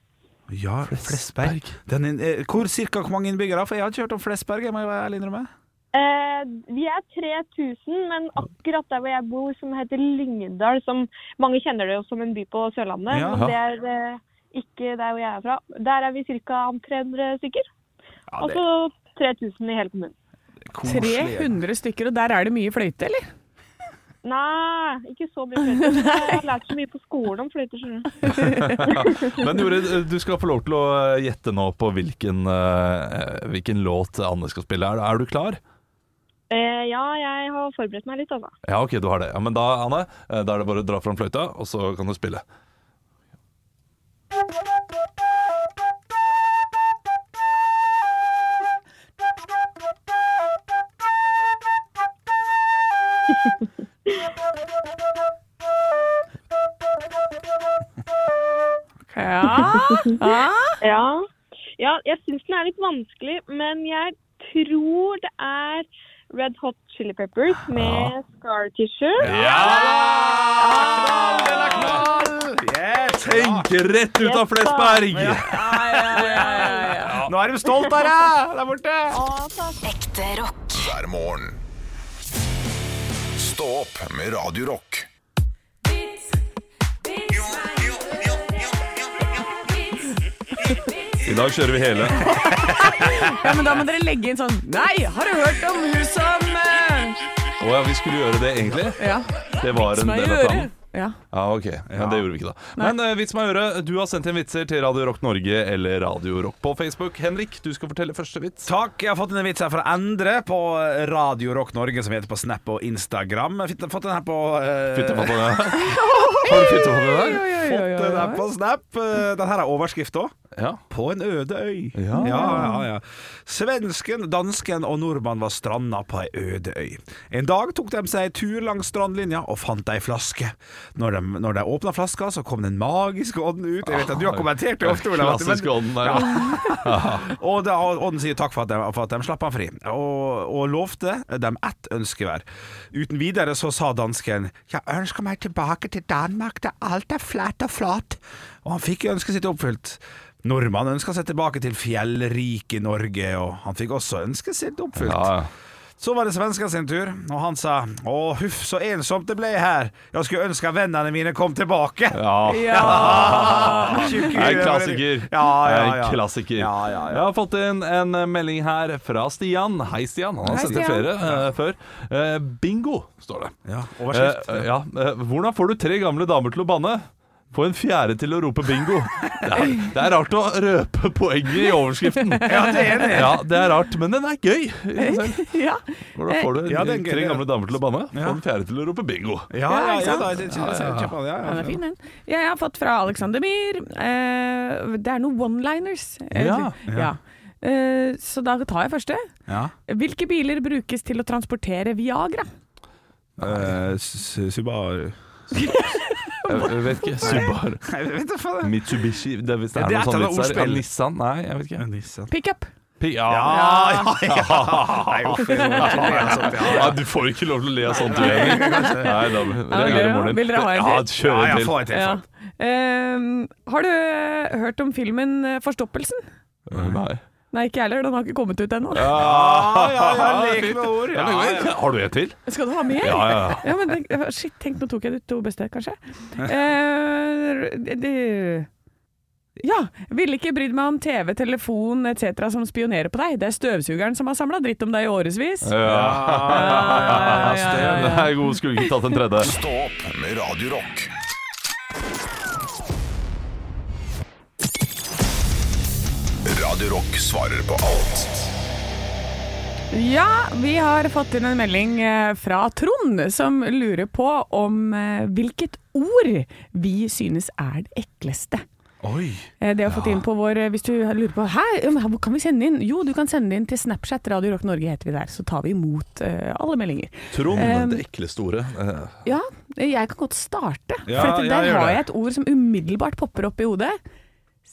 C: Ja, Flesberg. Den inn- eh, hvor, cirka hvor mange innbyggere? For jeg har ikke hørt om Flesberg, jeg må jo være ærlig innrømme.
H: Eh, vi er 3000, men akkurat der hvor jeg bor, som heter Lyngdal, som mange kjenner det jo som en by på Sørlandet,
C: Ja.
H: men det er eh, ikke der hvor jeg er fra. Der er vi ca. 300 stykker.
C: Ja, det
H: Altså 3000 i hele kommunen.
C: er koselig. altså.
A: 300 stykker, og der er det mye fløyte, eller?
H: Nei, ikke så mye fløyter. Jeg har lært så mye på skolen om fløyter. skjønner du.
D: Men Jorid, eh, du skal få lov til å eh, gjette nå på hvilken, eh, hvilken låt Anne skal spille. Er, er du klar?
H: Eh, ja, jeg har forberedt meg litt, altså.
D: Ja, ok, du har det. Ja, men da, Anne, eh, da er det bare å dra fram fløyta, og så kan du spille.
A: Ja. ja.
H: Ja, ja jeg syns den er litt vanskelig, men jeg tror det er Red Hot Chili Peppers med Scar Tissue.
C: Yes!
D: Tenk rett ut av Flesberg!
C: Nå er de stolt av deg der borte!
E: Ekte rock.
B: hver morgen. Stå opp med Radio Rock.
D: I dag kjører vi hele.
A: ja, men da må dere legge inn sånn Nei, har du hørt om hun som eh,
D: Å ja, vi skulle gjøre det egentlig.
A: Ja.
D: Det var en
A: Som er
D: del
A: i
D: av planen.
A: øret. Ja.
D: Ja, ok. Men det gjorde vi ikke, da. Men eh, vits meg i øret, du har sendt inn vitser til Radio Rock Norge eller Radio Rock på Facebook. Henrik, du skal fortelle første vits.
C: Takk. Jeg har fått en vits her fra Endre på eh, Radio Rock Norge, som heter på Snap og Instagram. Jeg har fått den her på eh,
D: Fyttefatt på den her. Har du fyttefatt på den her?
A: Oi, oi,
C: Fått
A: oi,
C: den her
A: oi.
C: på Snap. Eh, Den her er overskrift òg.
D: Ja.
C: På en øde øy.
D: Ja.
C: ja, ja, ja. Svensken, dansken og nordmannen var stranda på ei øde øy. En dag tok de seg en tur langs strandlinja og fant ei flaske. Når de, når de åpna flaska, så kom den magiske ånden ut. Jeg vet at Du har kommentert det ofte, Olav. men-
D: Klassisk ånden der. Ja.
C: og da, ånden sier takk for at de, for at de slapp han fri, og, og lovte dem ett ønske hver. Uten videre så sa dansken 'Jeg ønsker meg tilbake til Danmark, der alt er flatt og flott'. Og han fikk ønsket sitt oppfylt. Nordmannen ønska seg tilbake til fjellrike Norge, og han fikk også ønsket sitt oppfylt.
D: Ja, ja.
C: Så var det svensken sin tur, og han sa 'Å, huff, så ensomt det ble her. Jeg skulle ønske vennene mine kom tilbake'.
D: Ja.
A: Ja.
C: Tjukk i
D: Det er en
C: huet.
D: klassiker.
C: Ja, ja, ja.
D: Det er En klassiker.
C: Ja, ja, ja.
D: Jeg har fått inn en melding her fra Stian. Hei, Stian. Han har
A: Hei,
D: sendt inn
A: Stian.
D: flere eh, før. Eh, bingo, står det.
C: Ja, overskrift.
D: Eh, ja. eh, hvordan får du tre gamle damer til å banne? Få en fjerde til å rope bingo. Det er, det er rart å røpe poenget i overskriften.
C: Ja, det er det.
D: Ja, det er rart, men den er gøy. i seg selv.
A: Ja.
D: Hvordan får du
C: Ja, det er gøy,
D: tre
C: ja.
D: gamle damer til å banne? Få
C: Ja.
D: en fjerde til å rope bingo.
C: Ja,
A: Ja,
C: ja,
A: ikke
C: ja,
A: sant?
C: da, det- det- kjøp av det, ja, ja.
A: Den er fin, den. Jeg har fått fra Alexander Myhr. Eh, det er noen one-liners. Eh,
D: Ja.
C: Ja.
A: ja. Eh, så da tar jeg første.
C: Ja.
A: Hvilke biler brukes til å transportere Viagra?
C: Eh, s- s- Subaru
D: Jeg, jeg vet ikke. Subaru.
C: Jeg vet da faen.
D: Mitsubishi det, Hvis det
C: Ja,
D: er
C: det er
D: noe
C: et
D: sånn
C: eller annet
D: vits der. Ja,
C: ordspill.
D: Nissan? Nei, jeg vet ikke.
A: Pickup.
D: Pi- Ja,
C: Ja, ja, ja. Nei, uff, jeg må ikke le av sånt, sånn- ja.
D: Nei, du får ikke lov til å le av sånt, du heller. Nei, da
A: Ja,
D: reagerer
A: vil dere-
D: moren din.
A: vil dere ha en
D: Ja,
A: til?
D: kjør
C: Ja,
D: en
C: ja,
D: til.
C: få en til.
A: Ja.
C: få en til.
A: Sånn. Eh, har du eh, hørt om filmen eh, 'Forstoppelsen'?
D: Nei.
A: Nei, ikke jeg heller. Den har ikke kommet ut ennå.
C: Ja, ja, ja, lek med ord.
D: Ja,
C: Ja,
D: men,
C: ja.
D: Har du en til?
A: Skal du ha med?
D: Ja, ja, ja.
A: Ja, men det, shit, tenk, nå tok jeg de to beste, kanskje. Eh, det- det- ja. Ville ikke brydd meg om TV, telefon etc. som spionerer på deg. Det er støvsugeren som har samla dritt om deg i årevis.
D: Ja.
A: ja, ja, ja, ja.
D: Den er god, skulle ikke tatt en tredje.
B: Stå opp med Radio Rock. Radio Rock svarer på alt
A: Eh, Ja, vi har fått inn en melding eh, fra Trond, som lurer på om eh, hvilket ord vi synes er det ekleste.
C: Oi.
A: Eh, Det har fått inn på vår eh, Hvis du lurer på Hæ, Ja, men hvor kan vi sende inn? Jo, du kan sende det inn til Snapchat. Radio Rock Norge heter vi der. Så tar vi imot eh, alle meldinger.
D: Trond,
A: Um,
D: det ekleste ordet. Eh,
A: Ja, jeg kan godt starte.
C: Ja,
A: for at
C: ja,
A: der
C: gjør
A: har
C: det.
A: jeg et ord som umiddelbart popper opp i hodet.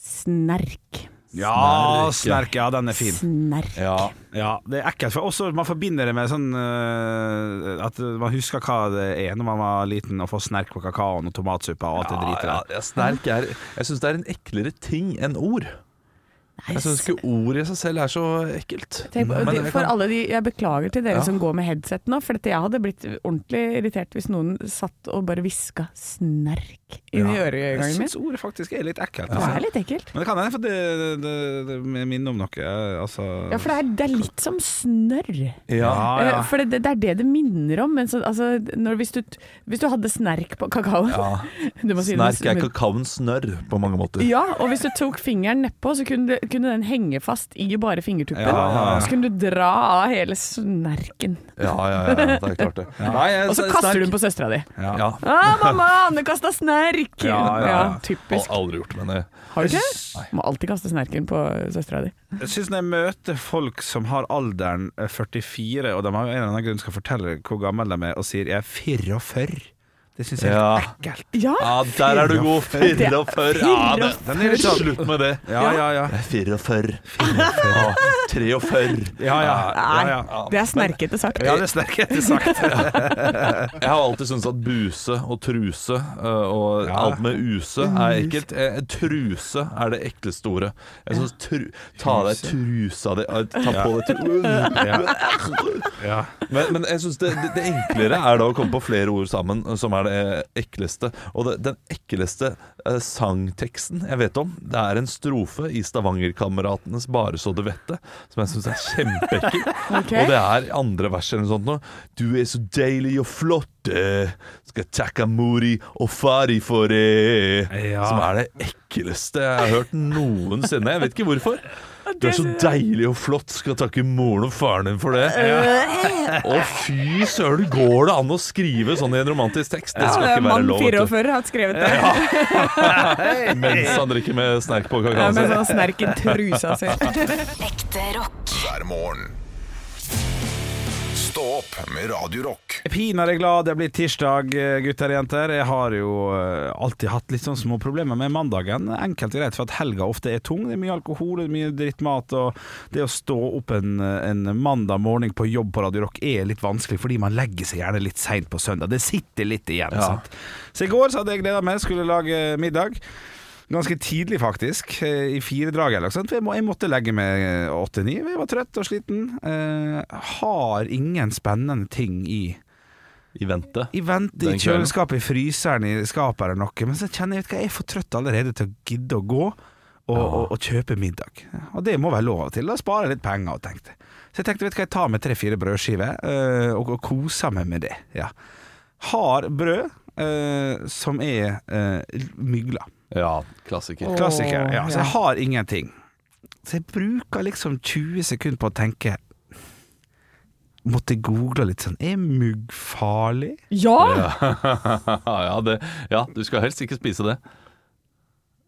A: Snerk.
C: Ja,
D: Snerke.
C: Snerk. Ja, den er fin.
A: Snerk.
D: Ja.
C: Ja, det er ekkelt. For også man forbinder det med sånn eh, At man husker hva det er når man var liten og får snerk på kakaoen og tomatsuppa og alt det dritet
D: ja,
C: der.
D: ja, snerk er Jeg syns det er en eklere ting enn ord. Jeg syns ikke ord i seg selv er så ekkelt.
A: Tenk på,
D: Men
A: de,
D: jeg
A: for
D: kan-
A: alle de, jeg beklager til dere
D: Ja.
A: som går med headset nå, for dette, jeg hadde blitt ordentlig irritert hvis noen satt og bare hviska 'snerk' inn i
C: Jeg
A: øregangen min.
C: syns ordet faktisk er litt ekkelt.
A: Det
C: altså.
A: er litt ekkelt.
C: Men det kan hende, for det, det, det, det minner om noe. eh, Altså
A: Ja, for det er, det er litt som snørr.
D: ja.
C: Ja, ja.
A: Eh, For det, det er det det minner om. Men så, altså, når, hvis, du, hvis du hadde snerk på kakaoen du må si det med-
D: Snerk er kakaoen snørr på mange måter.
A: Ja, og hvis du tok fingeren nedpå, så kunne, det, kunne den henge fast i bare fingertuppen.
C: Ja, ja, ja.
A: Så kunne du dra av hele snerken.
D: Ja, ja, ja, det er klart det. Nei, jeg-
A: Og så kaster du den på søstera di.
D: Ja.
A: Å, mamma, Anne kasta snerk!
C: Ja, ja, ja.
A: typisk.
D: Al- Aldri gjort, men eh. jeg,
A: Har du ikke? det? Må alltid kaste snerken på søstera di.
C: Jeg syns når jeg møter folk som har alderen eh, 44, og de har en eller annen grunn skal fortelle hvor gammel de er, og sier 'jeg er 44', det syns jeg
D: Ja.
C: er ekkelt.
A: Ja,
D: Ja, der er du god. 44. Ja, det,
C: Den er litt sånn
D: slutt med det.
C: Ja, ja, ja.
D: 44. 43.
C: Ja, ja. ja, ja.
A: det er snerkete sagt.
C: Ja, det er snerkete sagt.
D: Jeg har alltid syntes at buse og truse øh, og
C: Ja.
D: alt med use er ekkelt. Eh, Truse er det ekleste ordet. Jeg synes tru, Ta av deg trusa di øh, Ta på deg tru...
C: Ja.
D: Men, men jeg synes det, det, det enklere er da å komme på flere ord sammen, øh, som er det eh, ekleste. Og det, den ekleste eh, sangteksten jeg vet om, det er en strofe i Stavangerkameratenes 'Bare så du vet det', som jeg syns er kjempeekkel.
A: Ok.
D: Og det er andre vers eller noe sånt nå. Du er så deilig og flott, eh. skal takke mori og fari for det.
C: Ja.
D: Som er det ekleste jeg har hørt noensinne. Jeg vet ikke hvorfor. Du er så deilig og flott, skal takke moren og faren din for det. Å fy søren, går det an å skrive sånn i en romantisk tekst? Det skal
A: det er
D: ikke være
A: mann
D: lov. vet du.
A: 44 har skrevet det.
D: Mens han drikker med snerk på Altså,
A: Ja,
D: kakaoen sin.
A: med sånn snerk i trusa si.
E: Ekte rock.
B: hver morgen. Stå opp med Radio Rock.
C: Pinadø glad det blir tirsdag, eh, gutter og jenter. Jeg har jo eh, alltid hatt litt sånn små problemer med mandagen. Enkelt og greit, for at helga ofte er tung. Det er mye alkohol, det er mye drittmat, og det å stå opp en, en mandag morgen på jobb på Radio Rock er litt vanskelig, fordi man legger seg gjerne litt seint på søndag. Det sitter litt igjen.
D: Ja.
C: sant? Så i går så hadde jeg gleda meg, skulle lage middag. Ganske tidlig, faktisk. eh, I fire drag. Eller, noe sånt. For jeg, må, jeg måtte legge meg åtte-ni. Jeg var trøtt og sliten. Eh, har ingen spennende ting i
D: I vente.
C: i vente i
D: Den kvelden.
C: kjøleskapet, i fryseren, i skapet eller noe. Men så kjenner jeg ut hva jeg er for trøtt allerede til å gidde å gå og, og, og kjøpe middag. Og det må være lov til. Da sparer jeg litt penger, tenkte jeg. Så jeg tenkte, vet du hva, jeg tar med tre-fire brødskiver øh, og, og koser meg med det. Ja. Har brød øh, som er øh, mygla.
D: Ja, klassiker.
C: Klassiker. Ja, så
A: ja.
C: jeg har ingenting. Så jeg bruker liksom 20 sekunder på å tenke Måtte google litt sånn Er mugg farlig?
A: Ja!
D: ja, det, ja, du skal helst ikke spise det.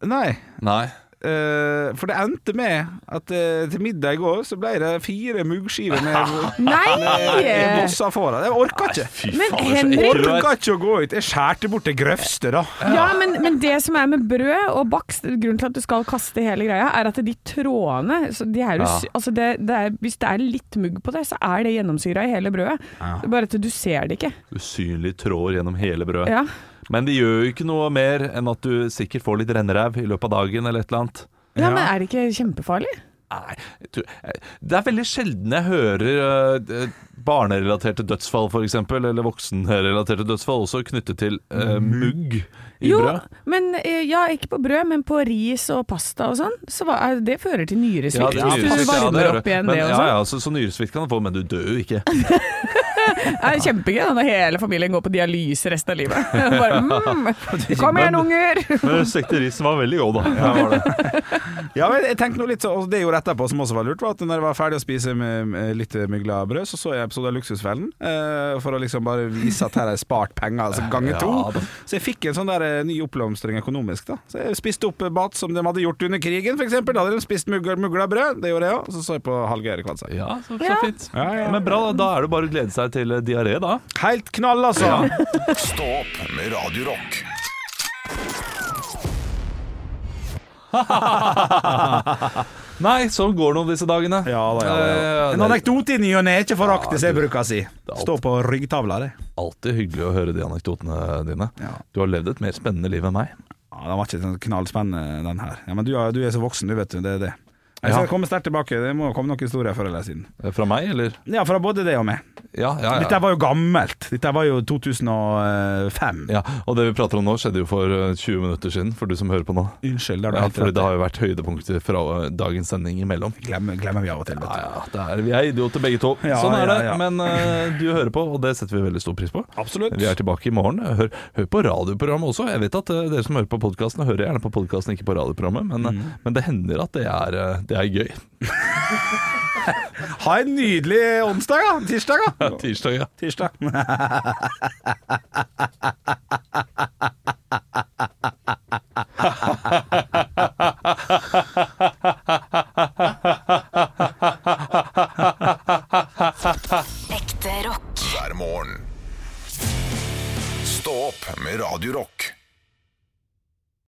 C: Nei.
D: Nei.
C: Eh, for det endte med at eh, til middag i går så ble det fire muggskiver med
A: Nei!
C: mossa foran. Jeg orka ikke.
D: Fy
A: Men
D: faen, det er så
A: Henrik-
D: ekkelt.
C: Orka ikke å gå ut. Jeg skjærte bort det grøvste, da.
A: Ja, men, men det som er med brød og bakst, grunnen til at du skal kaste hele greia, er at de trådene så de er jo,
D: Ja.
A: sy- altså det, det er, Hvis det er litt mugg på det, så er det gjennomsyra i hele brødet. Det er Bare at du ser det ikke.
D: Usynlige tråder gjennom hele brødet.
A: Ja.
D: Men det gjør jo ikke noe mer enn at du sikkert får litt renneræv i løpet av dagen eller et eller annet.
A: ja, men er det ikke kjempefarlig?
D: Nei, jeg tror- jeg- det er veldig sjelden jeg hører eh, eh, barnerelaterte dødsfall f.eks., eller voksenrelaterte dødsfall, også knyttet til eh, mugg i
A: Jo,
D: brød.
A: men eh, ja, ikke på brød, men på ris og pasta og sånn. Så hva, er- det fører til nyresvikt
D: det-
A: hvis du
D: ja, det
A: varmer
D: gjør
A: opp igjen
D: men,
A: det og
D: ja,
A: sånn.
D: ja, så, så nyresvikt kan du få, men du dør jo ikke.
A: Det er kjempegøy da, når hele familien går på dialyse resten av livet. Bare, mm, kom igjen, unger!
D: Men stekte risen var veldig god, da.
C: Ja, men jeg tenkte noe litt så, og Det jeg gjorde etterpå, som også var lurt, var at når jeg var ferdig å spise med, med litt mygla brød, så så jeg episode av Luksusfellen eh, for å liksom bare vise at her har jeg spart penger, altså ganger to.
D: Ja, da.
C: så jeg fikk en sånn der eh, ny oppblomstring økonomisk, da. Så jeg spiste opp eh, mat som de hadde gjort under krigen, f.eks. Da hadde de spist mugla, mugla brød, det gjorde jeg òg. Så så jeg på Hallgeir Kvansa.
D: Ja, så, så
A: Ja.
D: fint.
C: Ja, ja.
D: Men bra, da, da er det bare å glede seg til eh, diaré, da.
C: Helt knall, altså!
B: Stå opp med Radio Rock.
D: Nei, sånn går nå disse dagene.
C: Ja, da, ja, da, ja.
D: Eh,
C: En
D: det
C: anekdote i ny og ne, ikke foraktes, jeg bruker å si.
D: alt.
C: Stå på ryggtavla, det.
D: er alltid hyggelig å høre de anekdotene dine.
C: Ja.
D: Du har levd et mer spennende liv enn meg.
C: Ja, den var ikke sånn knallspennende, den her. Ja, men du, er- du er så voksen, du, vet du. Det er det. Jeg
D: Ja.
C: skal komme sterkt tilbake. Det må komme noen historier før eller siden.
D: Eh, Fra meg, eller?
C: Ja, fra både det og meg.
D: Ja, ja,
C: Dette
D: ja.
C: var jo gammelt. Dette var jo 2005.
D: ja. Og det vi prater om nå, skjedde jo for eh, 20 minutter siden, for du som hører på nå.
C: Unnskyld, det har du
D: Ja,
C: helt
D: fordi
C: rett
D: det
C: i.
D: har jo vært høydepunkter fra eh, dagens sending imellom.
C: Glemmer, glemmer vi av og til,
D: Ja,
C: vet du.
D: ja, det er, vi er idioter begge to.
C: Ja,
D: sånn er
C: ja,
D: det.
C: ja.
D: Men eh, du hører på, og det setter vi veldig stor pris på.
C: Absolutt.
D: Vi er tilbake i morgen. Hør, hør på radioprogrammet også. Jeg vet at eh, dere som hører på podkasten, hører gjerne på podkasten, ikke på radioprogrammet, men,
C: Mm.
D: eh, men det hender at det er, eh, det er gøy.
C: Ha en nydelig onsdag, da. Tirsdag, da.
D: Tirsdag, ja.
C: Tirsdag.